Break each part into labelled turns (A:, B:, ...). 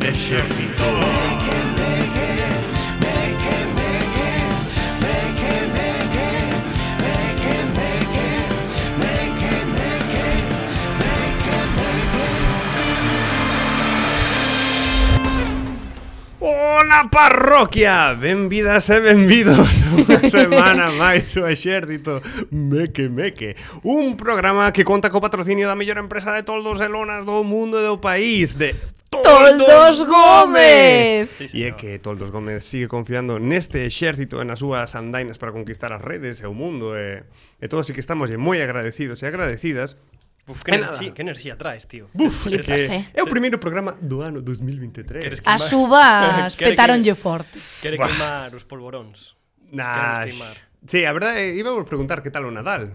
A: ejército. Hola parroquia, benvidas e benvidos unha semana máis o Exército Meque Meque Un programa que conta co patrocinio da mellor empresa de toldos e lonas do mundo e do país De
B: Toldos Gómez.
A: E é que Toldos Gómez sigue confiando neste exército e nas súas andainas para conquistar as redes e o mundo E, e todos sí que estamos moi agradecidos e agradecidas
C: Uf, que,
A: E nada.
C: enerxía, que enerxía traes, tío.
A: Buf,
B: Flipas,
A: que
B: eh.
A: é o primeiro programa do ano 2023
C: Queres
B: As uvas petaronlle forte.
C: Quere queimar os polvoróns.
A: Nas...
C: Queremos queimar.
A: Sí, a verdade, íbamos preguntar que tal o Nadal.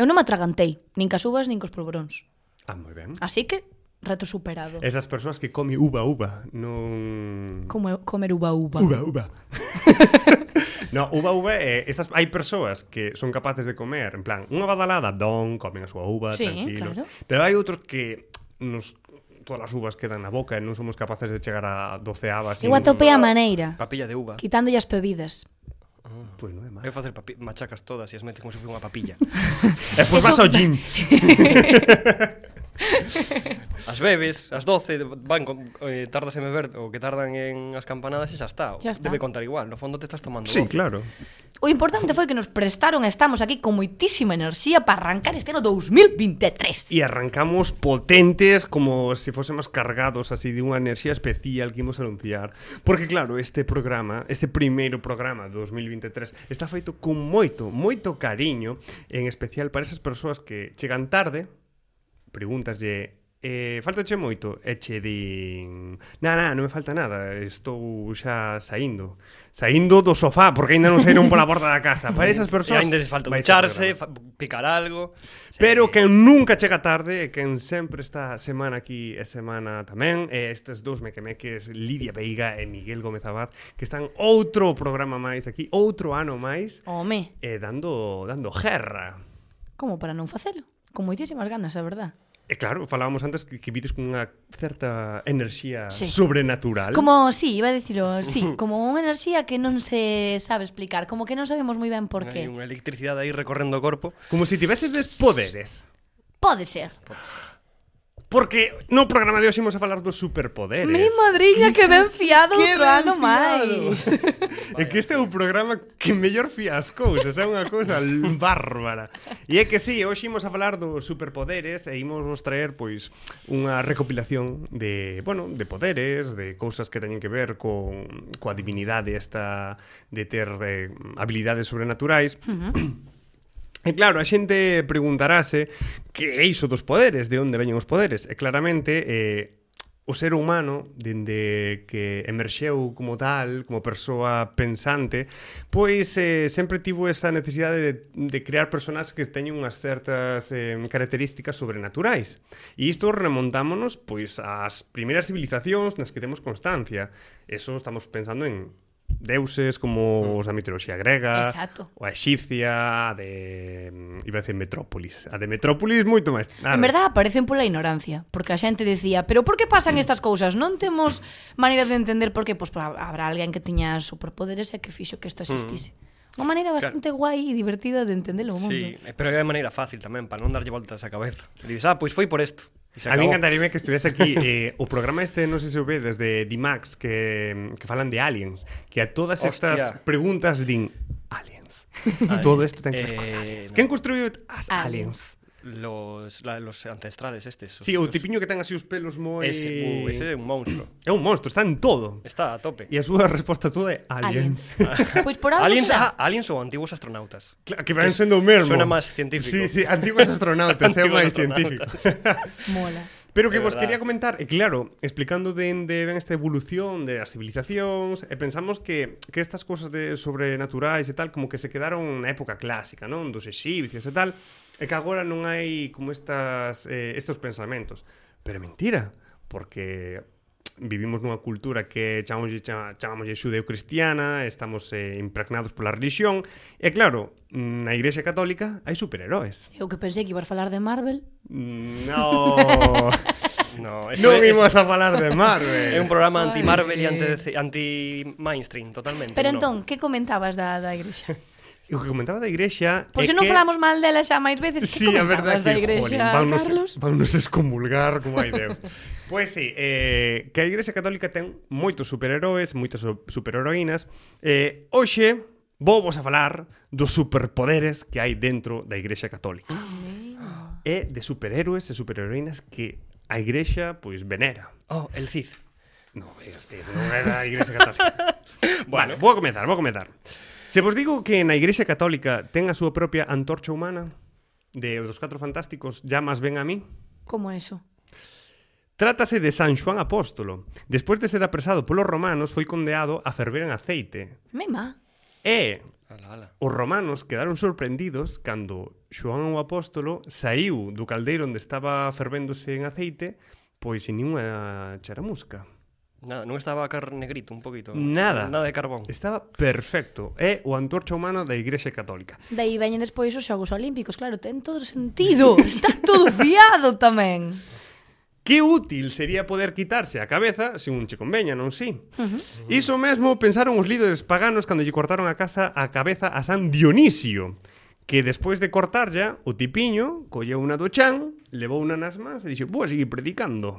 B: Eu non me atragantei, nin cas uvas, nin cos polvoróns.
A: Ah, moi ben.
B: Así que, reto superado.
A: Esas persoas que come uva uva, non
B: Como eu- comer uva uva.
A: uva uva. no, uva uva é estas hai persoas que son capaces de comer, en plan, unha badalada, don, comen a súa uva,
B: Sí,
A: tranquilos.
B: claro.
A: Pero hai outros que nos todas as uvas quedan na boca e non somos capaces de chegar a doceava sin...
B: Eu atopei a maneira,
C: Papilla de uva.
B: quitándolle as bebidas.
A: Pois non é mal.
C: Eu facer papi- machacas todas e as metes como se fose unha papilla.
A: E pois
B: Eso-
A: vas ao gym.
C: As bebes, as 12 van con, eh, tardas en beber o que tardan en as campanadas e xa está.
B: Ya está.
C: Debe contar igual, no fondo te estás tomando
A: Sí,
C: 12.
A: claro.
B: O importante foi que nos prestaron, estamos aquí con moitísima enerxía para arrancar este ano 2023.
A: E arrancamos potentes como se fósemos cargados así de unha enerxía especial que imos anunciar. Porque claro, este programa, este primeiro programa de 2023 está feito con moito, moito cariño, en especial para esas persoas que chegan tarde, preguntaslle Eh, faltache moito e che din na, na, non me falta nada estou xa saindo saindo do sofá porque aínda non saíron pola porta da casa para esas
C: E
A: persoas
C: ainda se falta
A: vai ser
C: ducharse,
A: programa.
C: fa picar algo. O sea,
A: Pero
C: que-
A: que nunca chega tarde e quen sempre está semana aquí e semana tamén e estes dous mequemeques Lidia Veiga e Miguel Gómez Abad que están outro programa máis aquí, outro ano máis
B: Home,
A: e dando dando gerra.
B: como para non facelo? Con moitísimas ganas, a verdad.
A: E claro, falábamos antes que, que vites cunha certa enerxía
B: Sí.
A: sobrenatural.
B: Como, sí, iba a dicilo, sí, como unha enerxía que non se sabe explicar, como que non sabemos moi ben por
C: Hai
B: qué.
C: unha electricidade aí recorrendo o corpo.
A: Como se tiveses des poderes.
B: Pode ser.
A: Porque no programa de hoxe imos a falar dos superpoderes.
B: Mi madriña que ben fiado
A: Que
B: outro
A: ben
B: ano
A: fiado.
B: máis.
A: É que este é o programa que mellor fía as cousas, é unha cousa l- bárbara. E é que sí, hoxe imos a falar dos superpoderes e imos vos traer pois unha recopilación de, bueno, de poderes, de cousas que teñen que ver con coa divinidade esta de ter eh, habilidades sobrenaturais. E claro, a xente preguntarase que é iso dos poderes, de onde veñen os poderes. E claramente, eh, o ser humano, dende que emerxeu como tal, como persoa pensante, pois eh, sempre tivo esa necesidade de, de crear personas que teñen unhas certas eh, características sobrenaturais. E isto remontámonos pois ás primeiras civilizacións nas que temos constancia. Eso estamos pensando en deuses como os da mitoloxía grega,
B: Exacto.
A: O a Exipcia, a de... mm, Iba a decir Metrópolis. A de Metrópolis moito máis.
B: En verdad aparecen pola ignorancia, porque a xente decía, pero por que
A: Mm.
B: pasan estas cousas? Non temos maneira de entender por que, pois pues, habrá alguén que tiña superpoderes e que fixo que isto existise.
A: Mm.
B: Unha maneira bastante guai e divertida de entender o mundo.
C: Sí, eh, pero é de maneira fácil tamén, para non darlle voltas á cabeza. Dices, ah, pois foi por isto. E se
A: A mí
C: acabou.
A: encantaría que estivese aquí eh, o programa este, non sei se o vedes, de Dimax, que, que falan de aliens, que a todas
C: Hostia.
A: estas preguntas din aliens.
C: Aliens.
A: Todo isto ten que
C: Eh,
A: ver cos aliens.
C: no.
A: Quen construiu as aliens?
B: Aliens.
C: Los, la, los ancestrales estes. os-
A: Si, sí, o
C: os-
A: tipiño que ten así os pelos moi...
C: Ese, uh, ese é un monstro.
A: É un monstro, está en todo.
C: Está a tope.
A: E a súa resposta toda é aliens.
B: Aliens. pois por algo
C: Aliens,
B: será.
C: ah, aliens ou antigos astronautas.
A: Claro, que van sendo o mesmo.
C: suena máis científico.
A: Sí, sí, antigos astronautas, é
C: Antigos
A: o máis científico.
B: Mola.
A: Pero que
C: É
A: vos
C: verdad.
A: quería comentar, e claro, explicando dende ven esta evolución de as civilizacións, e pensamos que, que estas cosas de sobrenaturais e tal, como que se quedaron na época clásica, non? Dos exipcios e tal, e que agora non hai como estas, eh, estos pensamentos. Pero é mentira, porque vivimos nunha cultura que chamamoslle, cha- chamamoslle xudeo-cristiana, estamos eh, impregnados pola religión, e claro, na Igrexa Católica hai superheróis.
B: Eu que pensei que ibas a falar de Marvel.
A: No.
C: No, isto
A: Non
C: é-
A: imos a falar
C: É
A: de
C: un
A: Marvel.
C: programa anti-Marvel e anti- anti-mainstream, totalmente.
B: Pero
C: no.
B: entón, que comentabas da, da igrexa?
A: O que comentaba da igrexa
B: Por
A: é
B: se non
A: que...
B: falamos mal dela xa máis veces, que
A: Sí, a verdade
B: comentabas
A: que,
B: da igrexa,
A: vannos,
B: Carlos?
A: vannos excomulgar como hai Deus. Pois sí, eh, que a Igrexa Católica ten moitos superheróis, moitas su- superheroínas. Eh, hoxe vou vos a falar dos superpoderes que hai dentro da Igrexa Católica.
B: Ah.
A: E de superhéroes e superheroínas que a Igrexa pois venera.
C: Oh, el Cid.
A: No, este non é da Igrexa Católica. bueno, vale, vou comentar, vou comentar. Se vos digo que na Igrexa Católica ten a súa propia antorcha humana de dos catro fantásticos, ya más ben a mí.
B: Como eso?
A: Trátase de San Juan Apóstolo. Despois de ser apresado polos romanos, foi condeado a ferver en aceite.
B: Mema.
A: E
C: Ala, ala.
A: os romanos quedaron sorprendidos cando Xoán o Apóstolo saiu do caldeiro onde estaba fervéndose en aceite pois sin ninguna charamusca.
C: Nada, non estaba car negrito un poquito.
A: Nada.
C: Nada de carbón.
A: Estaba perfecto. É o antorcha humana da Igrexa Católica.
B: Daí veñen despois os xogos olímpicos, claro, ten todo sentido. Está todo fiado tamén.
A: Que útil sería poder quitarse a cabeza se un che conveña, non si? Uh -huh. Iso mesmo pensaron os líderes paganos cando lle cortaron a casa a cabeza a San Dionisio, que despois de cortarlla, o tipiño colleu unha do chan, levou unha nas mans e dixo, vou a seguir predicando.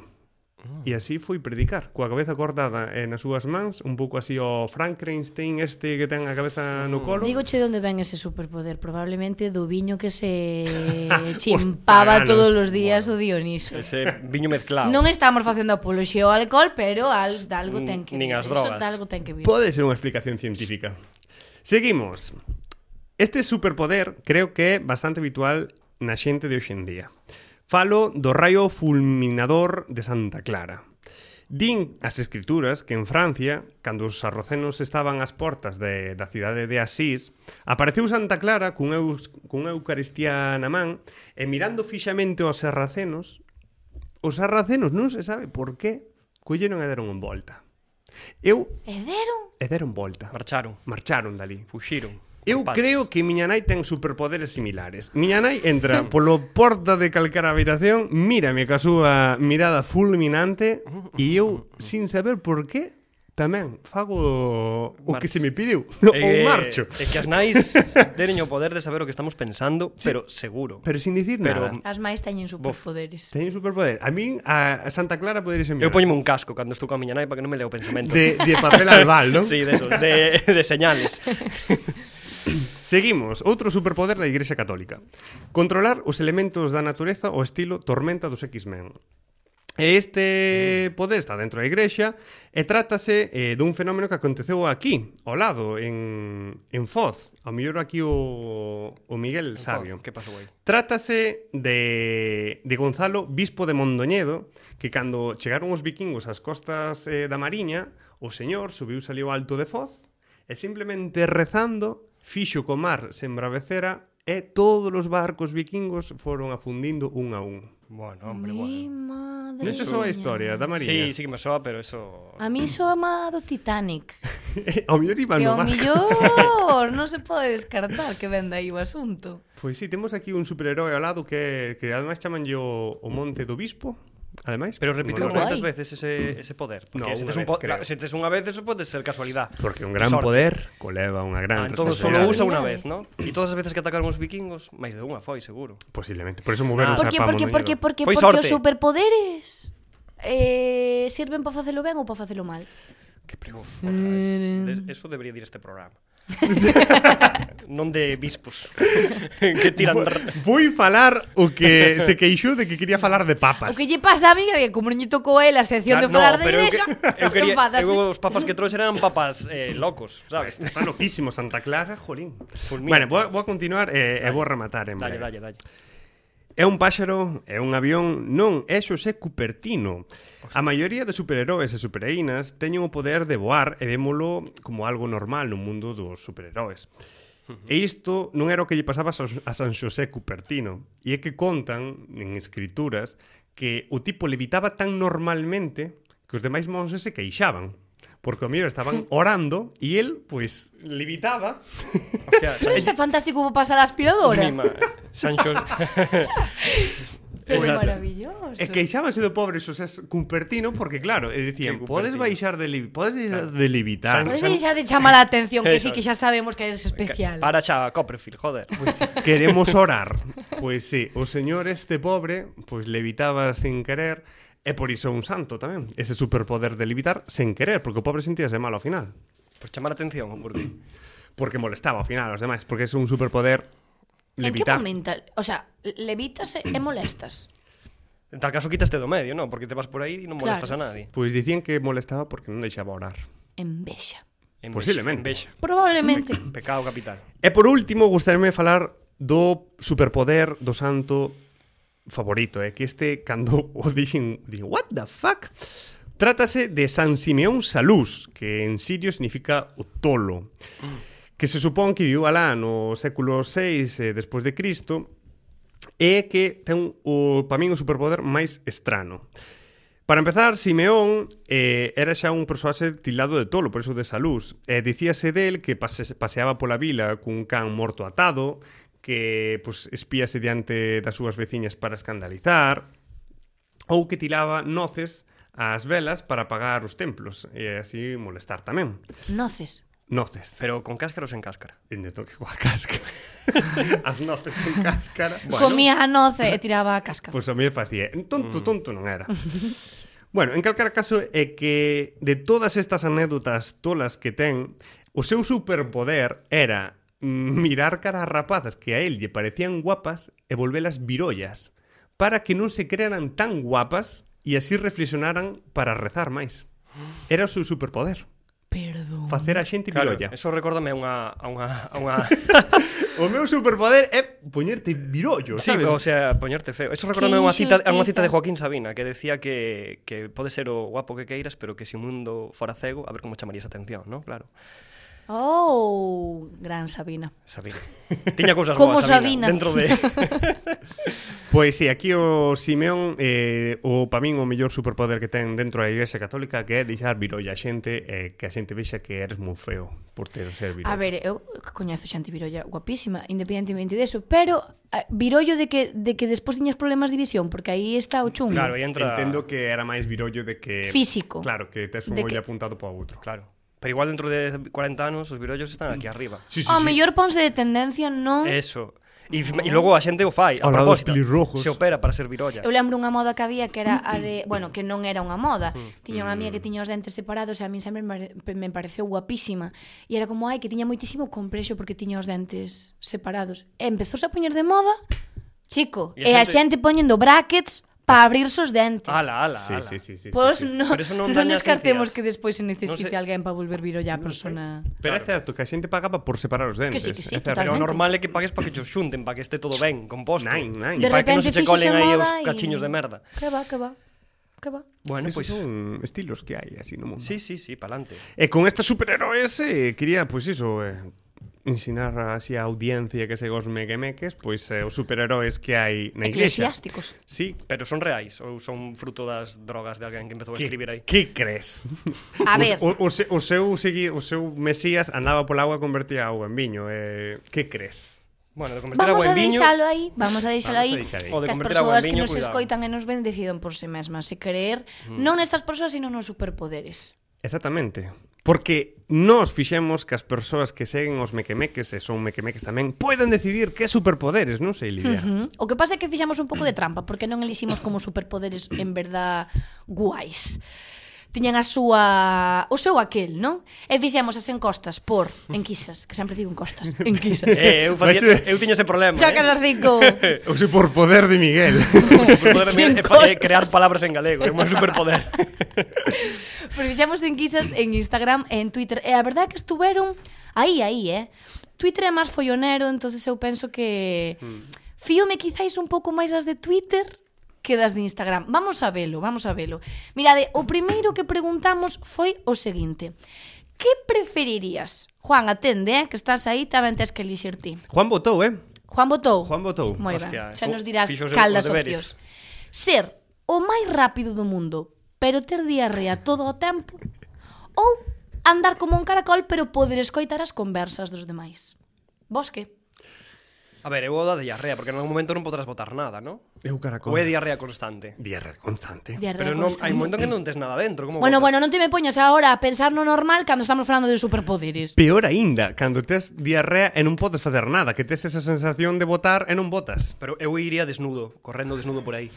A: E así foi predicar, coa cabeza cortada e nas súas mans, un pouco así o Frankenstein este que ten a cabeza no colo.
B: Dígoche de onde ven ese superpoder, probablemente do viño que se
A: Os paganos.
B: chimpaba todos os días o Dioniso.
C: Ese viño mezclado.
B: Non estamos facendo apoloxía ao alcohol, pero al, de algo ten que
C: Nin
B: vir.
C: as
B: Eso
C: drogas.
B: de algo ten que vir.
A: Pode ser unha explicación científica. Seguimos. Este superpoder creo que é bastante habitual na xente de hoxendía. Falo do raio fulminador de Santa Clara. Din as escrituras que en Francia, cando os sarrocenos estaban ás portas de, da cidade de Asís, apareceu Santa Clara cunha, eus- cunha eucaristía na man e mirando fixamente aos sarracenos, os sarracenos non se sabe por qué colleron e deron en volta. Eu
B: E deron?
A: e deron volta.
C: Marcharon.
A: Marcharon dali.
C: Fuxiron.
A: Eu
C: Patas.
A: creo que miña nai ten superpoderes similares. Miña nai entra polo porta de calquera habitación, mírame ca súa mirada fulminante e eu, sin saber por qué, tamén fago o que se me pediu. Ou
C: Eh,
A: marcho.
C: É que as nais teñen o poder de saber o que estamos pensando, pero seguro.
A: Pero sin dicir
C: Pero-
A: nada.
B: As máis teñen superpoderes.
A: Teñen superpoder. A min, a a Santa Clara poderes
C: Eu
A: enviar.
C: poñome un casco cando estou coa miña nai para que non me lea o pensamento.
A: De, de papel albal, non?
C: Sí, de, esos, de, de señales.
A: Seguimos, outro superpoder da Igrexa Católica. Controlar os elementos da natureza ao estilo Tormenta dos X-Men. E este poder está dentro da Igrexa e trátase eh, dun fenómeno que aconteceu aquí, ao lado, en, en Foz. Ao mellor aquí o, o Miguel sabio.
C: Que pasou aí?
A: Trátase de, de Gonzalo, bispo de Mondoñedo, que cando chegaron os vikingos ás costas eh, da Mariña, o señor subiu salió alto de Foz e simplemente rezando fixo co mar se embravecera e todos os barcos vikingos foron afundindo un a un.
C: Bueno, hombre,
B: Mi
C: bueno.
B: madre
A: Non é só a
B: miña.
A: historia da Mariña.
C: Sí, sí que me soa, pero eso...
B: A mí soa má do Titanic.
A: ao mellor iban Ah,
B: Que
A: no
B: ao
A: barco.
B: millor non se pode descartar que venda aí o asunto.
A: Pois sí, temos aquí un superheroe ao lado que, que ademais chamanlle o, o Monte do Bispo. Ademais,
C: Pero repitiu
A: Bueno,
B: Guai.
C: moitas veces ese, ese poder. Porque
A: No,
C: se tes un
A: unha vez,
C: po-
A: creo.
C: la- se tes unha vez, eso pode ser casualidade.
A: Porque un gran
C: Sorte.
A: poder coleva unha
C: Ah,
A: gran
C: entonces solo
A: responsabilidade.
C: usa unha vez, ¿no? E todas as veces que atacaron os vikingos, máis de unha foi, seguro.
A: Posiblemente. Por eso
C: Ah.
A: moveron ah.
B: Porque, porque, porque, porque,
C: Foi
B: porque
C: sorte.
B: os superpoderes eh, sirven para facelo ben ou para facelo mal.
C: Que prego Eso debería dir este programa. non de bispos que tiran
A: Voy falar o que se queixou de que quería falar de papas.
B: O que lle pasa a mí que como non lle tocou a él a sección de falar de
C: Ah, eu, que,
B: igrexa,
C: eu quería,
B: non faz así.
C: eu, os papas que trouxeran eran papas eh, locos, sabes?
A: Está loquísimo, Santa Clara, jolín.
C: Fulmínate.
A: Bueno, vou, vou a continuar e, e vou rematar en
C: Dalle,
A: breve.
C: dalle, dalle.
A: É un páxaro, é un avión, non, é Xosé Cupertino. A maioría de superheróes e superheínas teñen o poder de voar e vémolo como algo normal no mundo dos superheróis. E isto non era o que lle pasaba a San- a San Xosé Cupertino. E é que contan en escrituras que o tipo levitaba tan normalmente que os demais monses se queixaban. Porque o mellor estaban orando e el, pois, levitaba
C: Hostia,
B: Pero
C: San-
B: iso é fantástico para pasar a aspiradora.
C: Mima, Sancho
B: Pero
A: Exacto.
B: maravilloso.
A: E queixábanse do pobre Xosés Cumpertino porque claro, e dicían,
C: Que
A: podes
C: Cupertino.
A: baixar de, li podes deixar de levitar.
C: Xa-
B: Podes
C: xa-
B: deixar de chamar a atención que sí
C: Eso.
B: que xa sabemos que eres especial.
C: Para xa, Copperfield, joder.
A: Pois sí, queremos orar. Pois sí, o señor este pobre pois levitaba sen querer e por iso é un santo tamén. Ese superpoder de levitar sen querer, porque o pobre sentíase mal ao final.
C: Por chamar a atención, ou por qué?
A: Porque molestaba ao final aos demais, porque é un superpoder
B: en que
A: levitar.
B: momento? O sea, levitas e e molestas.
C: En tal caso quitaste do medio, non? Porque te vas por aí e non molestas
B: Claro.
C: a nadie.
A: Pois dicían que molestaba porque non deixaba orar.
B: Envexa.
C: En
A: Posiblemente.
C: Bexa,
B: Probablemente.
C: pecado capital.
A: E por último, gustaríame falar do superpoder do santo favorito, é eh? que este cando o dixen, dixen, what the fuck? Trátase de San Simeón Salús, que en sirio significa o tolo, que se supón que viviu alá no século VI eh, despois de Cristo, é que ten o, para min o superpoder máis estrano. Para empezar, Simeón eh, era xa un persoaxe tildado de tolo, por iso de Salús. Eh, dicíase del que pase, paseaba pola vila cun can morto atado, que pues, espíase diante das súas veciñas para escandalizar, ou que tiraba noces ás velas para pagar os templos e así molestar tamén.
B: Noces.
A: Noces.
C: Pero con cáscara ou sen cáscara?
A: Dende toque coa cáscara. As noces en cáscara.
B: Comía a noce e tiraba a casca.
A: Pois a mí me facía.
C: Mm.
A: Tonto, tonto non era. bueno, en calquera caso é que de todas estas anécdotas tolas que ten, o seu superpoder era mm, mirar cara a rapazas que a él lle parecían guapas e volvelas virollas para que non se crearan tan guapas e así reflexionaran para rezar máis. Era o seu superpoder,
B: Perdón.
A: facer a xente virolla.
C: eso recórdame a unha... A unha, a unha...
A: O meu superpoder é poñerte virollo,
C: sí,
A: sabes?
C: o sea, poñerte feo. Eso recórdame a unha cita, a unha cita de
B: inxustiza.
C: Joaquín Sabina, que decía que, que pode ser o guapo que queiras, pero que se o mundo fora cego, a ver como chamarías a atención, non? Claro.
B: Oh, gran Sabina.
C: Sabina. Tiña cousas
B: Como
C: boas, Sabina.
B: Sabina.
C: Dentro de...
A: Pois sí, aquí o Simeón eh, o pa min o mellor superpoder que ten dentro da Igrexa Católica que é deixar virolla a xente eh, que a xente vexa que eres moi feo por ter ser virolla.
B: A ver, eu coñezo xente Virolla guapísima, independentemente deso, pero eh, Virollo de que de que despois tiñas problemas de visión, porque aí está o chungo.
C: Claro, aí entra...
A: Entendo que era máis virollo de que...
B: Físico.
A: Claro, que tes un
B: De
A: ollo
B: que-
A: apuntado para outro.
C: Claro. Pero igual dentro de 40 anos os virollos están aquí arriba.
A: Sí, sí, sí.
B: Ao mellor ponse de tendencia non
C: Eso. E, e logo a xente o fai, a
A: Ao lado dos
C: propósito.
A: pelirrojos.
C: Se opera para ser virolla.
B: Eu lembro unha moda que había que era a de, bueno, que non era unha moda.
C: Mm.
B: Tiña unha mía que tiña os dentes separados e a min sempre me pare- me pareceu guapísima. E era como, ai, que tiña moitísimo complexo porque tiña os dentes separados. E empezouse a poñer de moda, chico,
C: E
B: e,
C: a
B: a
C: xente-
B: xente poñendo brackets para abrirse os dentes.
C: Ala, ala,
A: Sí,
C: ala.
A: sí, sí, sí,
B: Pois
A: sí, sí.
B: non,
C: Pero eso non
B: non,
C: daña as
B: descartemos
C: encías.
B: que despois se
C: Non
B: necesite
C: sei.
B: alguén para volver viro ya a persona.
A: Pero é certo que a xente pagaba por separar os dentes.
B: Que sí, que sí,
A: é certo.
C: Pero o
B: Totalmente.
C: normal é que pagues para que cho xunten, para que este todo ben, composto.
A: Nai, nai.
C: E
B: De
C: para que non
B: repente
C: se che
B: fíxose
C: colen aí os
B: moda e-
C: cachiños de merda.
B: Que va, que va. Que va.
C: Bueno,
A: Esos
C: pois... Pues,
A: son estilos que hai así no mundo.
C: sí, sí, sí, pa'lante.
A: E con estas superheróes eh, quería, pois pues, iso, eh, ensinar así a audiencia que se os mequemeques, pois eh, os superheróis que hai na iglesia.
B: Eclesiásticos.
A: Sí,
C: Pero son reais ou son fruto das drogas de alguén que empezou a
A: que,
C: escribir aí?
A: que crees?
B: A ver.
A: O, o, se- o, seu, segui, o seu mesías andaba pola agua e convertía a agua en viño. Eh, que crees?
C: Bueno, de converter
B: Vamos
C: agua
B: a
C: en viño...
B: deixalo aí, vamos a deixalo
A: Vamos a
B: aí.
A: deixar aí.
C: O de
B: Que as
C: converter agua en
B: persoas que
C: viño,
B: nos
C: cuidado. Mm.
B: escoitan e nos ven decidan por si sí mesmas se creer non nestas persoas, sino nos superpoderes.
A: Exactamente. Porque nos fixemos que as persoas que seguen os mequemeques e son mequemeques tamén poidan decidir que superpoderes, non sei, Lidia.
B: Mm? O que pasa é que fixamos un pouco de trampa, porque non eliximos como superpoderes en verdad guais. Tiñan a súa o seu aquel, non? E fixemos as encostas por enquisas, que sempre digo encostas, enquisas.
C: Eh, eu, facía,
A: Vais-
C: eu tiña ese problema,
B: Chacas
C: eh?
B: as cinco.
A: O superpoder de Miguel.
C: Por poder eh,
B: Cien
C: fa- eh,
B: cosas.
C: crear palabras en galego, é un superpoder.
B: Pero fixemos enquisas en Instagram e en Twitter. E a verdade é que estuveron aí, aí, eh? Twitter é máis follonero, entonces eu penso que... Fíome quizáis un pouco máis as de Twitter que das de Instagram. Vamos a velo, vamos a velo. Mirade, o primeiro que preguntamos foi o seguinte. Que preferirías? Juan, atende, eh, que estás aí, tamén tes que elixir ti.
A: Juan votou, eh?
B: Juan votou.
A: Juan votou.
B: Moi
C: Hostia,
B: ben. Xa
C: eu
B: nos dirás
C: fixo os-
B: cal
C: os
B: das
C: deberes.
B: opcións. Ser o máis rápido do mundo, pero ter diarrea todo o tempo, ou andar como un caracol, pero poder escoitar as conversas dos demais. Vos que?
C: A ver, eu o da diarrea, porque en algún momento non podrás botar nada, ¿no?
A: Eu caracol.
C: Ou é diarrea constante.
A: Diarrea constante.
B: Diarrea
C: Pero non, hai
B: constante.
C: un momento que non tes nada dentro, como
B: Bueno,
C: botas?
B: bueno, non te me poñas agora a pensar no normal cando estamos falando de superpoderes.
A: Peor aínda, cando tes diarrea e non podes facer nada, que tes esa sensación de botar e non botas.
C: Pero eu iría desnudo, correndo desnudo por aí.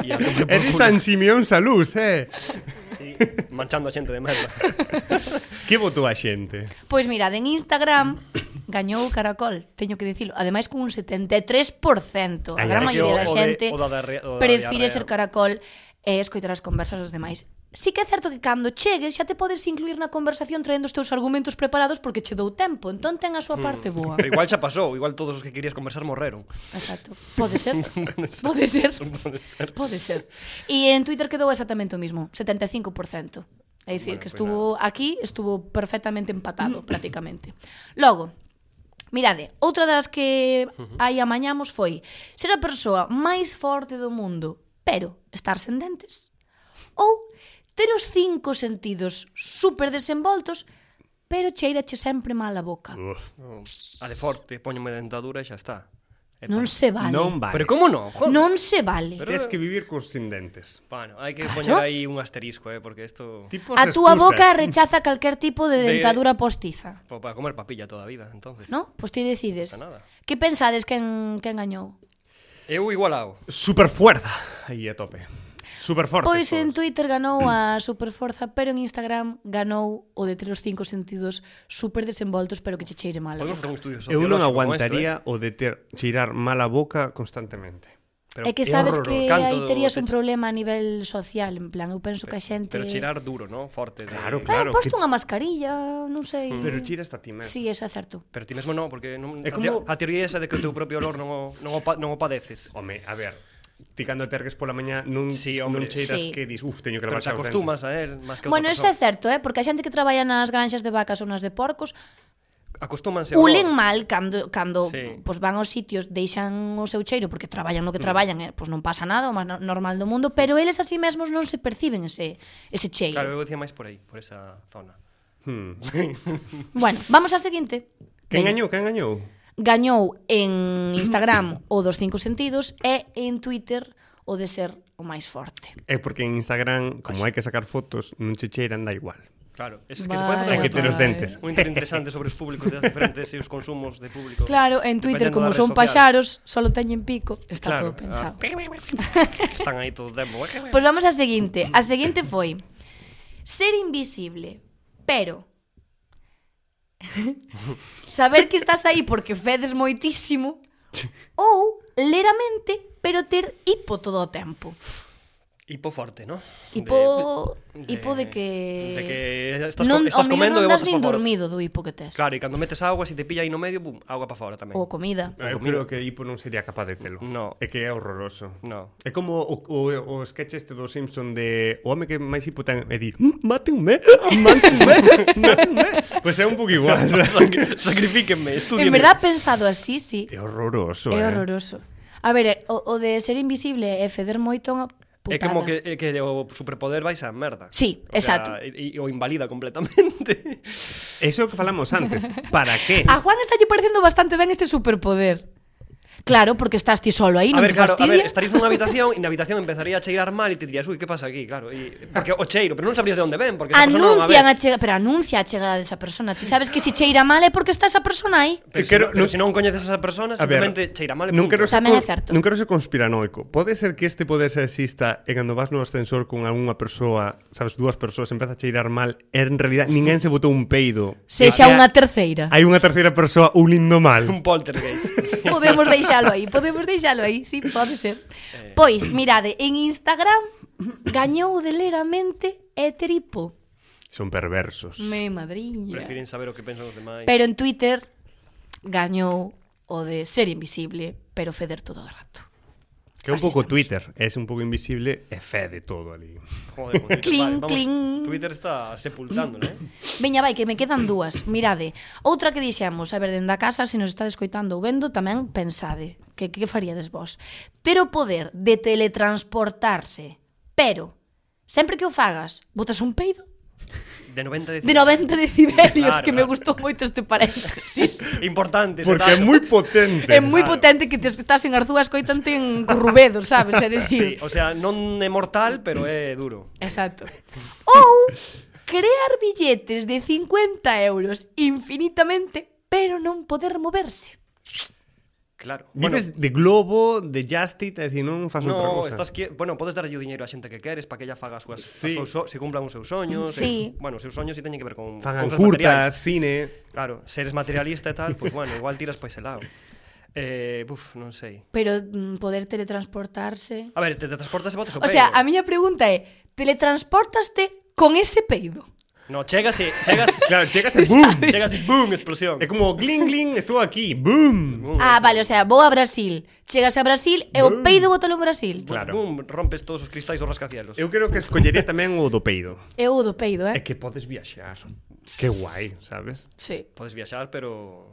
C: E a tomar por
A: Eres
C: culo.
A: San Simeón Salús, eh?
C: Sí, manchando a xente de merda.
A: Que votou a xente?
B: Pois mirad, en Instagram gañou o Caracol, teño que dicilo, ademais cun 73%. A
A: Ai,
B: gran
A: ai, que o-
B: maioría da
C: o de-
B: xente
C: o da diarrea- o da
B: prefire
C: diarrea.
B: ser Caracol e escoitar as conversas dos demais. Sí que é certo que cando chegues xa te podes incluir na conversación traendo os teus argumentos preparados porque che dou tempo, entón ten a
C: Hmm.
B: súa parte boa.
C: Pero igual xa pasou, igual todos os que querías conversar morreron.
B: Exacto. Pode ser. Pode ser.
C: Pode ser.
B: Pode ser. E en Twitter quedou exactamente o mismo, 75%. É dicir,
C: Bueno,
B: que
C: pois
B: estuvo aquí, estuvo perfectamente empatado prácticamente. Logo, mirade, outra das que aí amañamos foi ser a persoa máis forte do mundo, pero estar sen dentes. Ou ter os cinco sentidos super desenvoltos, pero cheirache sempre mal a boca.
C: Mm.
A: Uf,
C: A de forte, poñome dentadura e xa está. E
B: Non
C: pa-
B: se vale.
A: Non vale.
C: Pero como non? Joder.
B: Non se vale.
C: Pero-
A: Tes que vivir cos sin dentes.
C: Bueno, hai que
B: Claro.
C: poñer aí un asterisco, eh, porque isto
A: Tipo
B: A túa boca rechaza calquer tipo de
C: De-
B: dentadura postiza,
C: pa- para comer papilla toda a vida, entonces.
B: ¿no? Pois ti decides.
C: Pasa nada.
B: Que pensades que en, que engañou?
C: Eu igualao.
A: Super fuerza. Aí a tope. Super forte.
B: Pois en Twitter ganou a superforza, pero en Instagram ganou o de ter os cinco sentidos super desenvoltos, pero que che cheire mal. a
C: Podemos
B: boca.
C: facer un estudio
A: Eu
C: sociolóxico
A: non
C: con
A: aguantaría
C: isto,
A: o de ter cheirar mala boca constantemente.
C: eh? Pero,
B: É que
A: é
B: sabes
A: horroroso.
B: que
C: Canto
B: aí
C: do
B: terías un
C: techo.
B: problema a nivel social, en plan, eu penso que a xente...
C: eh, Pero tirar duro, ¿no? Forte. de-
A: Claro, claro.
B: Claro, posto
A: que-
B: unha mascarilla, non sei...
C: Mm.
A: Pero cheira hasta ti mesmo.
B: Sí, eso é certo.
C: Pero ti mesmo non, porque non, a, te-
A: É como-
C: a teoría esa de que o teu propio olor non o, non o, pa, non o padeces.
A: Home, a ver, ti cando tergues pola mañá non,
C: Sí,
A: non
C: hombre.
A: cheiras
B: Sí.
A: que dis, uf, teño que
C: Pero
A: lavar
C: te acostumas a él máis que
B: Bueno,
C: outra
B: eso é
C: persoa.
B: certo, eh? porque a xente que traballa nas granxas de vacas ou nas de porcos
C: Acostúmanse ao
B: Ulen
C: olor.
B: mal cando cando sí.
C: Sí. Mm.
B: pois van aos sitios, deixan o seu cheiro porque traballan no que traballan, eh, pois non pasa nada, o máis no- normal do mundo, pero eles así mesmos non se perciben ese ese cheiro.
C: Claro, eu decía máis por aí, por esa zona.
A: Hmm.
B: Bueno, vamos á seguinte.
A: Que engañou, que engañou?
B: Gañou en Instagram o dos cinco sentidos e en Twitter o de ser o máis forte.
A: É porque en Instagram, como hai que sacar fotos, non che cheiran, da igual.
C: Claro, es que se pode facer
A: Hai
C: un
B: Vale,
A: que ter os
B: vale.
A: dentes.
C: un inter interesante sobre os públicos das diferentes e os consumos de público.
B: Claro, en Twitter
C: Dependendo
B: como
C: das
B: son
C: redes sociais.
B: paxaros, solo teñen pico, está
C: Claro, ah.
B: todo pensado.
C: Están aí todo o tempo. eh?
B: Pois vamos á seguinte. A seguinte foi ser invisible, pero saber que estás aí porque fedes moitísimo ou ler a mente, pero ter hipo todo o tempo.
C: Hipo forte, ¿no?
B: Hipo
C: De-
B: de, hipo de que
C: de que estás,
B: non,
C: non, estás
B: ao mellor
C: comendo e
B: non das
C: botas
B: nin
C: pa fora.
B: dormido do hipo que tes. Claro.
C: Claro, e cando metes agua, se te pilla aí no medio, bum, agua para fora tamén.
B: Ou comida.
C: Eh,
A: Eu creo que Hipo non sería capaz de telo.
C: No.
A: É que é horroroso.
C: No.
A: É como o, o, o sketch este do Simpson de o home que máis hipo ten e di "Mm, mátenme, mátenme, mátenme. Pois é un pouco igual.
C: Sacri- Sacrifíquenme, estudien.
B: En verdad pensado así, sí.
A: é horroroso, eh.
B: É horroroso. A ver, eh, o, o de ser invisible e feder moito é unha putada.
C: É como que, é que o superpoder vais a merda.
B: Sí,
C: O sea,
B: exacto.
C: e, e o invalida completamente.
A: Eso que falamos antes. Para que?
B: A Juan está lle parecendo bastante ben este superpoder. Claro, porque estás ti solo aí,
C: a
B: non
C: ver,
B: te
C: claro, a
B: fastidia.
C: ver, estarías nunha habitación e na habitación empezaría a cheirar mal e te dirías, "Uy, que pasa aquí?" Claro, e porque o cheiro, pero non sabrías de onde ven, porque esa persona non a
B: Anuncian a
C: ves.
B: chegada, pero anuncia a chegada desa persona. Ti sabes que se si cheira mal é porque está esa persona aí.
C: Pero,
A: Eu quero-
C: si, non- pero
A: non-
C: se non coñeces esa persona,
A: A ver,
C: simplemente cheira mal e
A: non
C: punto.
A: quero ser,
B: Tamén é
A: con-
B: certo.
A: Non quero ser conspiranoico. Pode ser que este poder se exista e cando vas no ascensor con algunha persoa, sabes, dúas persoas, empeza a cheirar mal, e en realidad ninguén se botou un peido. E
B: Sexa unha
A: hai-
B: terceira.
A: Hai unha terceira persoa unindo mal.
C: un poltergeist.
B: Podemos deixalo aí, podemos deixalo aí, sí, pode ser.
C: Eh.
B: Pois, mirade, en Instagram gañou de ler a mente e tripo.
A: Son perversos.
B: Me madriña.
C: Prefiren saber o que pensan os demais.
B: Pero en Twitter gañou o de ser invisible, pero feder todo o rato.
A: Que é un
C: Ah,
B: Así
A: pouco
B: estamos.
A: Twitter, é un pouco invisible e fede todo ali.
C: Joder, con Twitter,
B: Cling,
C: vale, vamos,
B: cling.
C: Twitter está sepultándole, eh?
B: Veña, vai, que me quedan dúas. Mirade, outra que dixemos, a ver, dende a casa, se nos está escoitando ou vendo, tamén pensade, que que faríades vos? Ter o poder de teletransportarse, pero sempre que o fagas, botas un peido?
C: de 90
B: De 90 decibelios, que me gustou moito este paréntesis.
C: Importante,
A: Porque é
C: ese dato.
A: moi potente.
B: É moi
C: Claro.
B: potente que tes que estás en Arzúa escoitante en Rubedo, sabes?
C: Sí,
B: É dicir,
C: o sea, non é mortal, pero é duro.
B: Exacto. Ou crear billetes de 50 euros infinitamente, pero non poder moverse.
C: Claro.
A: Vives de globo, de Justit, é dicir, non fas outra
C: No,
A: cosa.
C: estás que, bueno, podes darlle o diñeiro á xente que queres para que ella faga as súas, sí.
A: Sí.
C: as seus, so- se cumplan os seus soños,
B: Sí.
C: e, bueno, os seus soños si teñen que ver con
A: Fagan
C: cousas
A: curtas,
C: materiais.
A: cine...
C: Claro, se eres materialista e tal, pois pues, bueno, igual tiras pa ese lado. Eh, buf, non sei.
B: Pero mm, poder teletransportarse...
C: A ver, te, te transportas e botas o,
B: O sea,
C: peido.
B: a miña pregunta é, teletransportaste con ese peido?
C: No, chegase, chegase,
A: Claro, chegas e boom.
C: chegase, boom, explosión.
A: É como gling gling, estou aquí, boom.
C: Boom,
B: Ah,
C: ese-
B: vale, o sea, vou a Brasil, chegas a Brasil e o peido botalo en Brasil.
A: Claro.
C: Boom, rompes todos os cristais do rascacielos.
A: Eu creo que escollería tamén o do peido.
B: É o do peido,
A: É
B: eh?
A: que podes viaxar. Que guai, sabes?
B: Sí.
C: Podes viaxar, pero...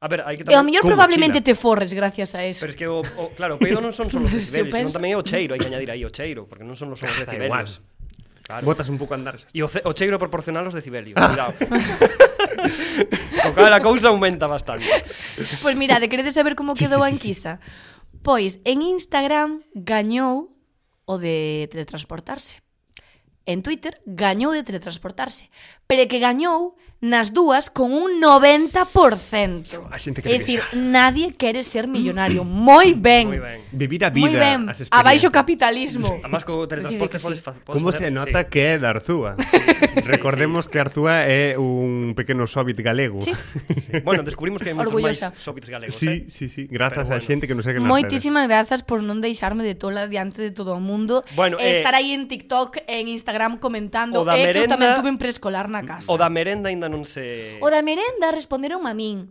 C: A ver, hai que
B: E
C: tamén...
B: ao mellor
A: con
B: probablemente
A: mochila.
B: te forres gracias a eso.
C: Pero es que o, o claro, o peido non son só os
B: Se
C: decibelios, senón
B: pensa-
C: tamén é o cheiro, hai que añadir aí o cheiro, porque non son só os
A: Ah, Da igual.
C: decibelios. Claro.
A: Botas un pouco a andar.
C: E o, ce- o cheiro proporcional aos decibelios,
A: Ah.
C: cuidado. o cal a cousa aumenta bastante.
B: Pois mirade, queredes saber como
A: Sí,
B: quedou
A: sí,
B: a
A: sí, sí.
B: enquisa? Pois en Instagram gañou o de teletransportarse. En Twitter gañou de teletransportarse, pero que gañou nas dúas con un 90%.
A: A xente
B: É
A: quere
B: dicir, nadie quere ser millonario. moi ben.
C: Moi ben.
A: Vivir a vida,
B: Moi ben.
A: as experiencias.
B: Abaixo o capitalismo.
C: Además, co teletransporte
B: Decide que
C: podes
B: sí.
C: fa- podes
A: Como
C: facer-
A: se nota
C: sí.
A: que é de Arzúa? Recordemos que Arzúa é un pequeno sóbit galego.
B: Sí.
C: Bueno, descubrimos que hai moitos máis
B: Orgullosa.
C: sóbites galegos, eh?
A: Sí, sí, sí, gracias
C: Pero
A: á
C: bueno.
A: xente que nos segue nas
B: Moitísimas grazas por non deixarme de tola diante de todo o mundo
C: Bueno,
B: e
C: eh,
B: estar aí en TikTok, en Instagram comentando
C: o da
B: e que eu tamén
C: merenda-
B: tuve en preescolar na casa.
C: O da merenda aínda non se...
B: O da merenda responderon a min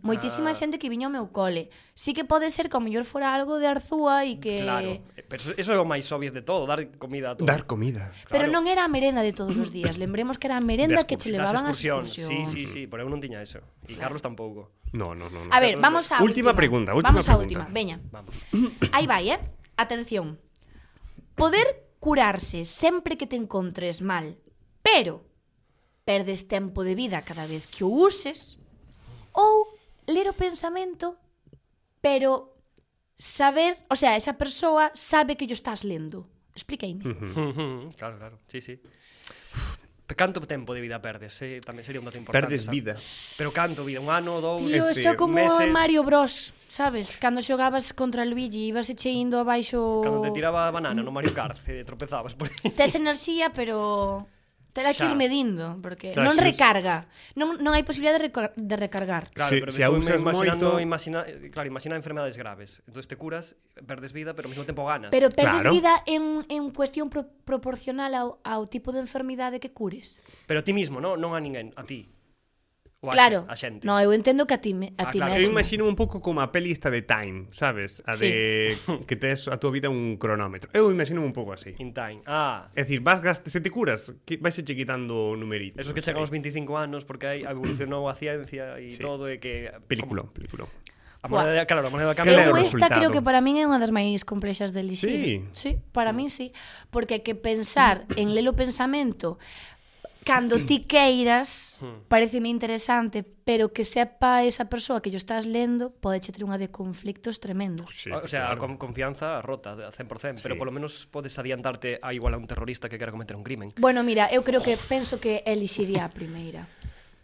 C: Ah.
B: Moitísima xente que viña ao meu cole Sí que pode ser que ao mellor fora algo de Arzúa E que...
C: Claro, eh, pero eso- eso é o máis obvio de todo, dar comida a todo.
A: Dar comida.
B: Pero
C: claro.
B: non era a merenda de todos os días Lembremos que era a merenda
A: Das
B: que che
A: excursións,
B: levaban a
C: excursión.
B: excursión
C: Sí, sí, sí, pero eu non tiña eso. E Carlos tampouco.
A: No, no, no. no.
B: A ver, vamos á
A: Última
B: última
A: pregunta, última
B: Vamos á
A: pregunta.
B: última, veña
C: Vamos.
B: Aí vai, eh? Atención. Poder curarse sempre que te encontres mal, pero perdes tempo de vida cada vez que o uses, ou ler o pensamento, pero saber, o sea, esa persoa sabe que yo estás lendo. Expliqueime.
C: Mm.
A: Mm.
C: claro, claro. Sí, sí. Pe- Canto tempo de vida perdes? Eh? Tamén sería un dato importante.
A: Perdes
C: sabe?
A: vida.
C: Pero canto vida? Un ano, dous...
B: Tío,
A: este,
B: isto é como
C: meses-
B: Mario Bros, sabes? Cando xogabas contra Luigi, ibas eche indo abaixo...
C: Cando te tiraba a banana no Mario Kart, eh, tropezabas por aí.
B: Tes enerxía, pero tela que
C: Xa.
B: ir medindo, porque
A: Claro,
B: non
A: se us-
B: recarga. Non, non hai posibilidade de, recar- de recargar.
C: Claro,
A: Se-
C: pero me
A: se
C: estou
A: abusas
C: imaginando,
A: moito-
C: imagina, eh, claro, imagina enfermedades graves. Entonces te curas, perdes vida, pero ao mesmo tempo ganas.
B: Pero perdes
A: Claro.
B: vida en, en cuestión pro, proporcional ao, ao tipo de enfermidade que cures.
C: Pero ti mismo, no? non a ninguén, a ti. Ou a xe-
B: claro.
C: a xente.
B: No, eu entendo que a ti, me,
C: Ah,
B: a ti
C: claro.
A: Eu
B: mesmo.
A: imagino un pouco como a peli esta de Time, sabes? A de que tes a túa vida un cronómetro. Eu imagino un pouco así.
C: In time. Ah,
A: É dicir, vas gast... se te curas, que vais che quitando numeritos.
C: Esos que chegan aos 25 anos porque aí evolucionou a ciencia e sí.
A: Sí.
C: todo e que
A: Película, película.
C: Como, a moneda, claro, a moneda de cambio.
A: Que leo o
B: Eu esta
A: resultado.
B: creo que para min é unha das máis complexas de elixir.
A: Sí.
B: sí para min sí, porque que pensar en lelo pensamento cando ti queiras
A: Hmm.
B: pareceme interesante, pero que sepa esa persoa que yo estás lendo pode che ter unha de conflictos tremendos.
A: Sí,
C: o sea,
A: claro.
C: con confianza rota a 100%, pero
A: Sí.
C: polo menos podes adiantarte a igual a un terrorista que quera cometer un crimen.
B: Bueno, mira, eu creo que penso que elixiría a primeira.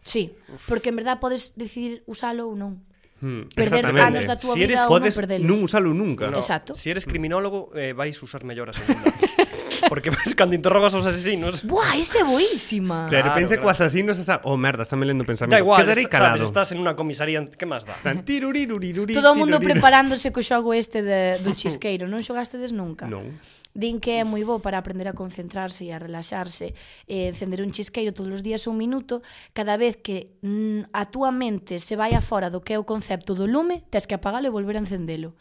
B: Sí, porque en verdad podes decidir usalo ou non.
A: Hmm,
B: perder
A: exactamente.
B: anos da túa
A: si
B: vida
A: eres,
B: ou non
A: podes
B: perdelos.
A: non usalo nunca.
C: No,
B: Exacto.
C: Si eres criminólogo, eh, vais usar mellor a segunda. porque vais cando interrogas aos asesinos,
A: Pues,
B: Buah, ese é boísima.
A: De repente
C: Claro,
A: co
C: claro.
A: asasino se sabe, oh merda, está me lendo pensamento.
C: da igual,
A: Quedaré
C: est-
A: calado.
C: sabes, estás en una comisaría, que máis dá?
A: Tan tirurirurirurí,
B: Todo o mundo
A: tiruriru.
B: preparándose co xogo este de, do chisqueiro, non xogastedes nunca?
A: Non.
B: Din que é moi bo para aprender a concentrarse e a relaxarse e encender un chisqueiro todos os días un minuto cada vez que mm, a túa mente se vai afora do que é o concepto do lume tes que apagalo e volver a encendelo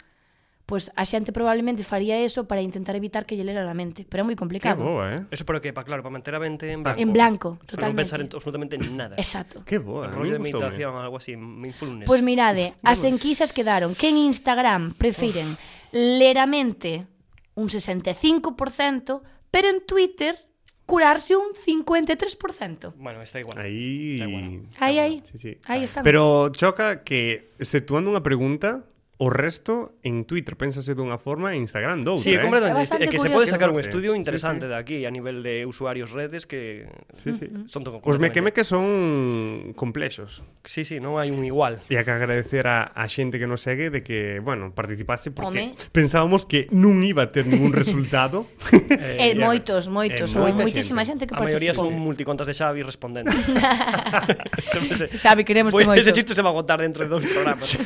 B: pois a xente probablemente faría eso para intentar evitar que lle lera a mente pero é moi
A: Que
B: complicado
A: boa, eh?
C: Eso pero que, pa, claro, para manter a mente en blanco.
B: En blanco,
C: Para non pensar en, absolutamente
B: totalmente.
C: en nada.
B: exacto Pues
A: Que
C: El
A: boa, a mí eh.
C: rollo de
A: gustoume.
C: meditación ou algo así, mindfulness.
B: Pois mirade, as enquisas quedaron que en Instagram prefiren leramente un 65%, pero en Twitter curarse un 53%.
C: Bueno, está igual.
A: Aí...
C: Está igual.
B: Ahí, ahí.
A: Sí, sí.
B: Ahí está.
A: Pero choca que, exceptuando unha pregunta, o resto en Twitter pénsase dunha forma e Instagram doutra,
C: Sí,
A: eh?
B: É
C: completamente. Es
B: bastante
C: que se
B: curioso.
C: puede sacar un
A: Fuerte.
C: estudio
A: Sí,
C: interesante de
A: sí.
C: aquí a nivel de usuarios redes que
A: Sí, sí. Pues
C: son todo
A: Os
C: completamente-
A: mequemeques son complexos.
C: Sí, sí, non hai un igual.
A: E hai que agradecer a, a xente que nos segue de que, bueno, participase porque
B: Home.
A: pensábamos que non iba a ter ningún resultado.
B: Eh,
A: e-
B: moitos, moitos,
A: e
B: houbo
A: moita
B: moitísima
A: xente.
B: xente que
C: A maioría
B: participou.
C: son multicontas de Xavi respondendo.
B: Xavi, queremos
C: Pois
B: que moitos.
C: ese chiste se va a agotar dentro de dos programas.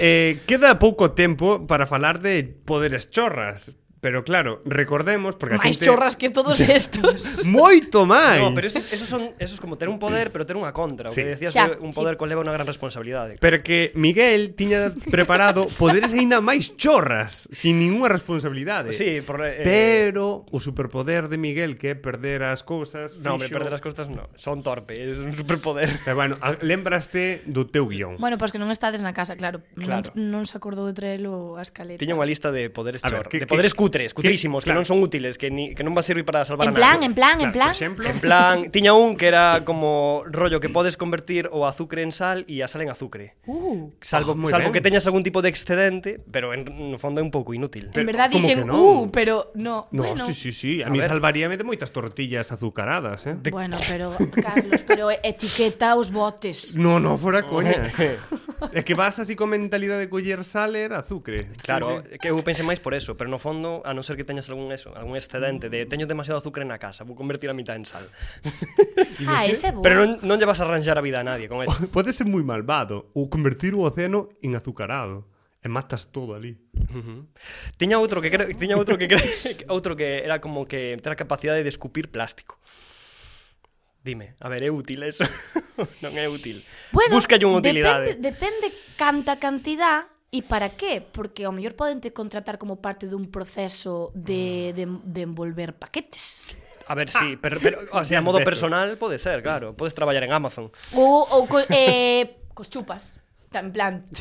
A: Eh, queda pouco tempo para falar de poderes chorras. Pero claro, recordemos, porque a
B: Máis
A: xente...
B: chorras que todos estos.
A: Moito máis!
C: No, pero esos, esos son esos como ter un poder, pero ter unha contra, o
A: Sí.
C: que decías de
B: Xa,
C: un
B: sí.
C: poder conleva unha gran responsabilidade.
A: Pero que Miguel tiña preparado poderes aínda máis chorras, sin ninguna responsabilidade.
C: Sí, por, eh,
A: Pero o superpoder de Miguel que é perder as cousas
C: No, hombre,
A: fixo-
C: perder as costas no. Son torpe, é un superpoder.
A: Pero bueno, a- lembraste do teu guión
B: bueno, pois que non estades na casa, claro.
C: Claro.
B: Non, non se acordou de traelo a escaleta.
C: Tiña unha lista de poderes
A: A
C: chor,
A: ver,
C: de
A: que- que-
C: poderes cutres,
A: que-
C: cutrísimos, que,
A: claro.
C: non son útiles, que, ni, que non va a servir para salvar a
B: En
C: nadie.
B: plan, en plan,
A: Claro,
B: en
A: Por
B: plan.
A: exemplo,
C: En plan, tiña un que era como rollo que podes convertir o azúcar en sal e a sal en azucre.
B: Uh,
C: Salvo,
A: Oh, moi
C: salvo que
A: ben.
C: teñas algún tipo de excedente, pero en, no fondo é un pouco inútil.
B: en
A: Pero,
B: verdad
A: como que
B: dixen,
A: non?
B: uh, pero no,
A: No,
B: bueno.
A: sí, sí, sí.
C: A
A: A, mí
C: ver.
A: salvaríame de moitas tortillas azucaradas, eh?
B: Bueno, pero, Carlos, pero etiqueta os botes.
A: No, no, fora coña. é que vas así con mentalidade de coller saler, azucre.
C: Claro,
A: Sí, sí.
C: que eu pensei máis por eso, pero no fondo, a non ser que teñas algún eso, algún excedente de teño demasiado azúcar na casa, vou convertir a mitad en sal.
B: Ah, ese é bo.
C: Pero non, non lle vas a arranxar a vida a nadie con eso.
A: Pode ser moi malvado ou convertir o océano en azucarado. E matas todo ali.
C: Ujú. Tiña outro que creo, tiña outro que creo, outro que era como que ter a capacidade de escupir plástico. Dime, a ver, é útil eso? non é útil. Búscalle unha utilidade.
B: Depende, depende canta cantidad e para qué, porque ao mellor poden te contratar como parte dun proceso de, de, de envolver paquetes.
C: A ver, sí, pero, pero o sea, a modo personal pode ser, claro. Podes traballar en Amazon.
B: Ou, ou co, eh, cos chupas. Ta- En plan,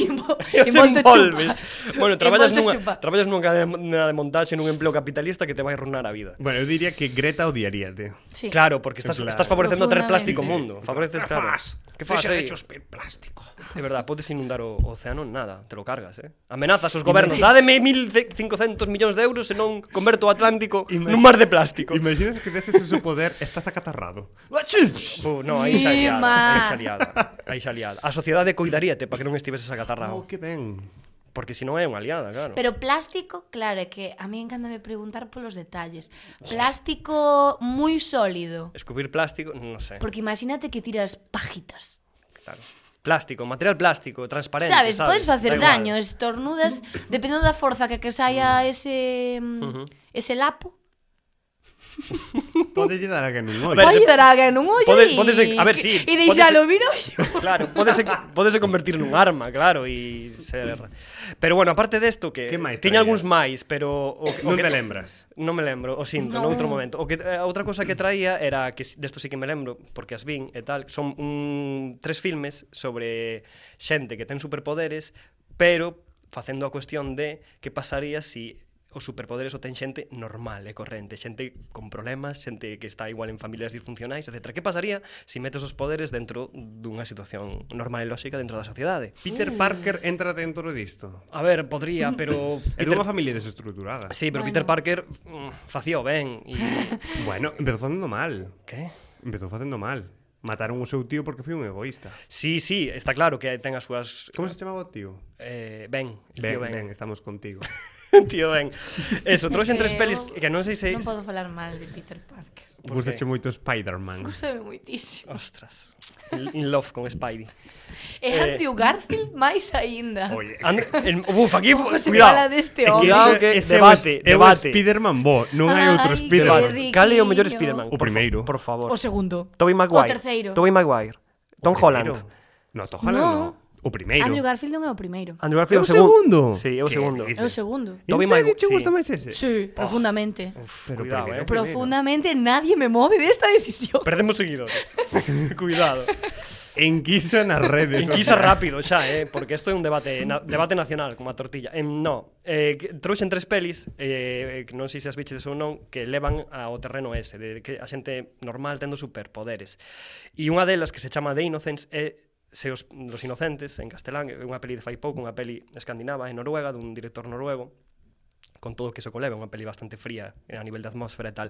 B: invo-
C: E os
B: envolto
C: envolves.
B: chupa.
C: Bueno, traballas
B: Envolto
C: nunha,
B: chupa.
C: traballas nunha cadena de montaxe nun empleo capitalista que te vai arruinar a vida.
A: Bueno, eu diría que Greta odiaríate.
B: Sí.
C: Claro, porque estás,
A: Claro.
C: estás favorecendo ter
B: Profundamente.
C: plástico ao mundo. Favoreces, claro. Que fas, sí.
A: plástico.
C: É verdad, podes inundar o o océano en nada, te lo cargas, eh. Amenazas os gobernos, dádeme 1500 millóns de euros e non converto o Atlántico nun mar de plástico.
A: Imaginas que deses ese poder, estás acatarrado.
C: Uh, no, aí xa liada,
B: Ima.
C: aí xa liada, aí xa liada. A sociedade coidaríate para que non estiveses
A: Oh,
C: acatarrado,
A: que ben.
C: porque se non é unha aliada, claro.
B: Pero plástico, claro, é que a mí encándame preguntar polos detalles. Plástico moi sólido,
C: Escupir plástico, non sei,
B: porque imagínate que tiras pajitas.
C: claro. Plástico, material plástico, transparente,
B: Sabes,
C: sabes?
B: podes
C: Da
B: facer
C: igual.
B: daño, estornudas, dependendo da forza que que saia ese
C: Ujú.
B: ese lapo.
A: Pode lle dar a que non
C: Pero
A: ollo.
B: Pode
C: se-
B: dar alguén un ollo.
C: Podes-
B: e-
C: podes- a ver, sí,
B: E
C: podes-
B: deixalo vir ollo.
C: Claro, podese, podese convertir nun arma, claro, e ser... Pero bueno, aparte desto que
A: Que máis
C: tiña
A: traía?
C: algúns máis, pero o, o
A: Non
C: que-
A: te lembras.
C: Non me lembro, o sinto,
B: Non.
C: no. noutro momento. O que eh, a outra cosa que traía era que s- desto sí que me lembro, porque as vin e tal, son un tres filmes sobre xente que ten superpoderes, pero facendo a cuestión de que pasaría si os superpoderes o ten xente normal e corrente, xente con problemas, xente que está igual en familias disfuncionais, etc. Que pasaría se metes os poderes dentro dunha situación normal e lóxica dentro da sociedade?
A: Peter Parker entra dentro disto.
C: A ver, podría, pero...
A: É
C: Peter-
A: dunha familia desestruturada.
C: Sí, pero
B: Bueno.
C: Peter Parker mm, facía o ben e...
A: Bueno, empezou facendo mal.
C: que?
A: Empezou facendo mal. Mataron o seu tío porque foi un egoísta.
C: Sí, sí, está claro que ten as súas...
A: Como se chamaba o tío?
C: Eh, ben, el
A: Ben,
C: tío
A: ben,
C: Ben.
A: estamos contigo.
C: tío Ben. Eso, trouxen tres
B: Eu
C: pelis que que non sei se...
B: Non podo falar mal de Peter Parker.
C: Por qué?
A: Gustache moito Spider-Man.
B: Gústame moitísimo.
C: Ostras. In in love con Spidey.
B: E
C: Eh,
B: Andrew Garfield máis aínda.
A: Oye,
C: And el, uf, aquí,
B: Pouco se fala
C: cuidado.
B: deste
C: Eh,
B: hombre.
C: Cuidado que
A: ese é o-
C: debate,
A: é o
C: debate.
A: Spider-Man bo, non hai outro
B: Ai, que
A: Spider-Man.
B: ri-
C: Cal é o mellor
B: Riquiño.
C: Spider-Man?
A: O primeiro.
C: Por, fa- por favor.
B: O segundo.
C: Tobey Maguire.
B: O terceiro.
C: Tobey Maguire. Tom Holland.
A: No, Tom Holland
B: No.
A: no. O primeiro.
B: Andrew Garfield non é o primeiro.
C: Andrew
A: É
C: Garfield
A: o
C: o segun-
A: segundo.
C: Ah, Sí, é o
A: Que
C: segundo.
A: dices.
B: É o segundo.
A: Tobey
C: Tobey
A: Maguire.
C: Maguire,
A: te gusta
C: sí.
A: máis ese?
B: Sí, profundamente.
A: Pero
C: Cuidado,
A: primero.
C: eh.
A: Pero-
B: Profundamente nadie me move de esta decisión.
C: Perdemos seguidores. cuidado.
A: Enquisa nas redes.
C: Enquisa rápido xa, eh, porque isto é un debate na, debate nacional como a tortilla. Em, no, eh, que- trouxen tres pelis, eh, que non sei se as biches ou non, que levan ao terreno ese, de que a xente normal tendo superpoderes. E unha delas que se chama The Innocents é Se os, los inocentes, en castelán, é unha peli de fai pouco, unha peli escandinava en Noruega, dun director noruego, con todo o que iso coleva, unha peli bastante fría eh, a nivel de atmósfera e tal.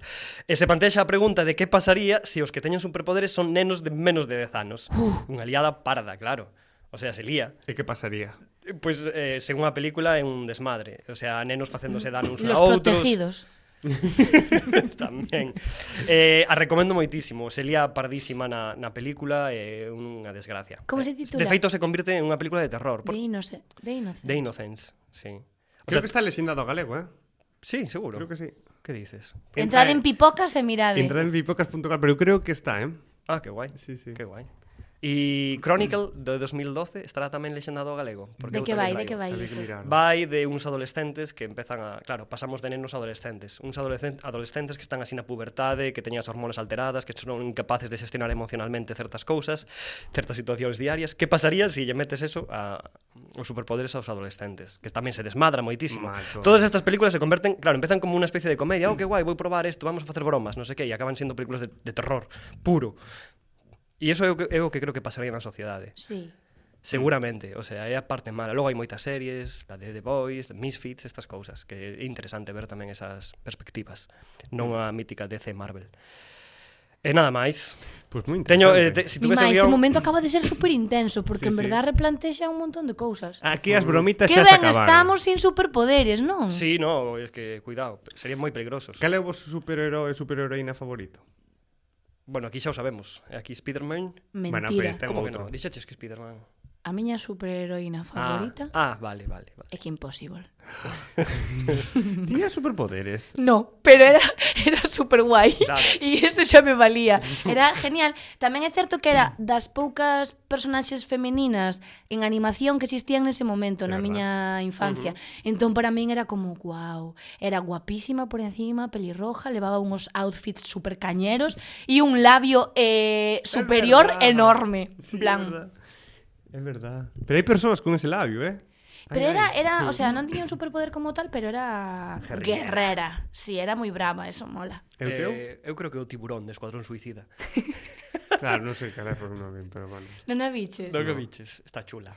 C: E se plantexa a pregunta de que pasaría se os que teñen superpoderes son nenos de menos de 10 anos. Uh. Unha liada parda, claro. O sea, se lía.
A: E que pasaría?
C: Eh, Pois, eh, según a película, é un desmadre. O sea, nenos facéndose dano uns
B: Los
C: a outros.
B: protegidos.
C: tamén. Eh, a recomendo moitísimo. Se lía pardísima na, na película, é eh, unha desgracia.
B: Como se
C: Eh, De
B: titula?
C: feito, se convirte en unha película de terror. Por...
B: De inocente. De inocente.
C: The Innocents, sí. O
A: Creo
C: sea,
A: que está lexendado ao galego, eh?
C: Sí, seguro.
A: Creo que sí.
C: Que dices?
B: Entrad en pipocas e mirade.
A: Entrad en vipocas.cal, pero creo que está, eh?
C: Ah, que guai.
A: Sí, sí.
C: Que guai. E Chronicle de 2012 estará tamén lexendado ao galego. Porque
B: De
C: eu
B: que vai,
C: tamén
B: de que
C: traigo.
B: vai.
A: Habría que
B: iso?
A: mirar.
C: Vai de uns adolescentes que empezan a... Claro, pasamos de nenos a adolescentes. Uns adolescen- adolescentes que están así na pubertade, que teñen as hormonas alteradas, que son incapaces de xestionar emocionalmente certas cousas, certas situacións diarias. Que pasaría se si lle metes eso a os superpoderes aos adolescentes? Que tamén se desmadra moitísimo.
A: Mal, todo.
C: Todas estas películas se converten... Claro, empezan como unha especie de comedia. Oh, que guai, vou probar isto, vamos a facer bromas, non sei que. E acaban sendo películas de, de terror puro. E iso é o que, é o que creo que pasaría na sociedade.
B: Sí.
A: Mm.
C: Seguramente, o sea, é a parte mala. Logo hai moitas series, la de The Boys, Misfits, estas cousas, que é interesante ver tamén esas perspectivas,
A: Mm.
C: non a mítica DC Marvel. E nada máis.
A: Pois moi Pues interesante.
C: Teño, eh, te, si tuves
B: Mima,
C: o
B: este
C: guión...
B: momento acaba de ser super intenso porque
A: Sí,
B: en
A: sí.
B: verdad replantexa un montón de cousas.
C: Ah,
A: Aquí as bromitas
B: que
A: xa se
B: ben
A: acabaron.
B: estamos sin superpoderes, non?
C: Sí, no, es que, cuidado, serían moi peligrosos.
A: Cal é o vos superheroe e superheroína favorito?
C: Bueno, aquí xa o sabemos. Aquí Spider-Man...
B: Mentira.
A: Bueno, pero- Ten
C: Como que
A: outro.
C: non? Dixaches que Spider-Man...
B: A miña superheroína favorita
C: Ah, ah, vale, vale. vale.
B: é que Impossible.
A: Tiña superpoderes.
B: No, pero era era super guai
C: Dale.
B: e eso xa me valía. Era genial. Tamén é certo que era das poucas personaxes femeninas en animación que existían nese momento
A: É verdad.
B: na miña infancia. Entón para min era como guau. Era guapísima por encima, pelirroja, levaba unos outfits super cañeros e un labio eh, superior
A: verdad.
B: enorme,
A: Sí,
B: blanco.
A: É verdad. É verdad. Pero hai persoas con ese labio, eh?
B: Pero
A: Ai,
B: era,
A: ai.
B: era, o sea, non tiña un superpoder como tal, pero era
A: Guerrera.
B: guerrera. Sí, era moi brava, eso mola.
A: É o teu?
C: Eh, eu creo que é o tiburón de Escuadrón Suicida.
A: Claro, non sei cal é por nome, pero bueno.
B: Non a biches?
C: Do que biches, está chula.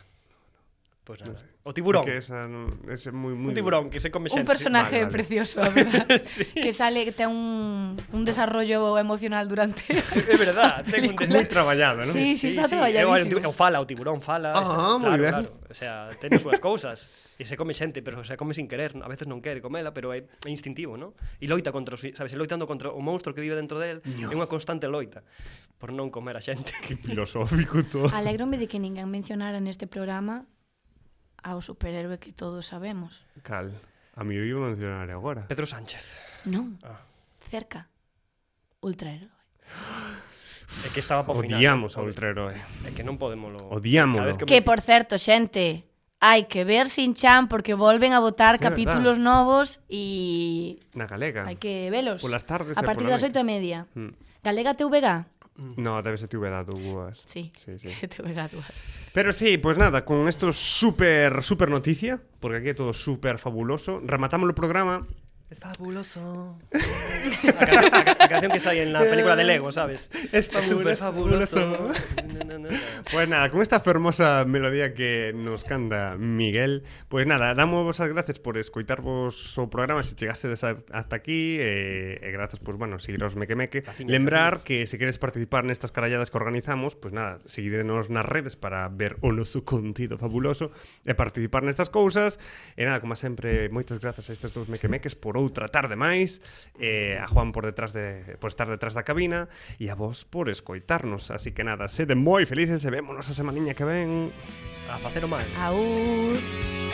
C: Pois nada. O tiburón.
A: Porque esa non... Ese é moi,
C: Un
A: moi...
C: tiburón que se come xente.
B: un personaje
A: vale, vale.
B: precioso, a verdad. Que sale, que ten un, un desarrollo emocional durante...
C: É verdad, ten un
A: Moi traballado, non?
B: Sí, sí, está traballadísimo.
C: O fala, o tiburón fala.
A: Ah,
C: está-
A: moi
C: claro,
A: ben.
C: claro. O sea, ten as súas cousas. E se come xente, pero se come sin querer. A veces non quere comela, pero é, é instintivo, non? E loita contra os... Sabes, e loitando contra o monstro que vive dentro del. É unha constante loita por non comer a xente.
A: Que filosófico todo.
B: Alégrome de que ninguén mencionara neste programa ao superhéroe que todos sabemos.
A: Cal. A mí eu iba a mencionar agora.
C: Pedro Sánchez.
B: Non,
C: Ah.
B: cerca. Ultrahéroe.
C: É que estaba para o final.
A: Odiamos ao ultraheroe.
C: É que non podemos lo...
A: Odiámolo.
C: Cada vez
B: Que,
C: mencio-
B: por certo, xente, hai que ver Sin Chan porque volven a
A: É
B: votar capítulos novos e
A: Na galega.
B: hai que velos.
A: Polas tardes eh,
B: A
A: e
B: partir
A: pola
B: das
A: noite.
B: oito e media.
A: Mm.
B: Galega TVG?
A: No, debe ser tuve dado guas.
B: Sí.
A: Sí, sí.
B: TVG dúas.
A: Pero sí, pues nada, con esto super, super noticia, porque aquí é todo super fabuloso, rematamos o programa.
C: Es fabuloso. a, ca- a ca- a canción que sai en la película de Lego, ¿sabes?
A: Es fabuloso.
C: super fabuloso.
A: Pues nada, con esta fermosa melodía que nos canta Miguel, pues nada, damos as gracias por escoitarvos o programa se chegaste hasta aquí eh, e grazas, pues bueno, seguiros meque meque.
C: Graciñas, graciñas.
A: Lembrar que se queres participar nestas caralladas que organizamos, pues nada, seguídenos nas redes para ver o noso contido fabuloso e participar nestas cousas. E nada, como sempre, moitas grazas a estes dous mequemeques por outra tarde máis, eh, a Juan por detrás de por estar detrás da cabina e a vos por escoitarnos. Así que nada, sede moi felices e vémonos a semaniña que ven.
C: A facer o mal.
B: Aú.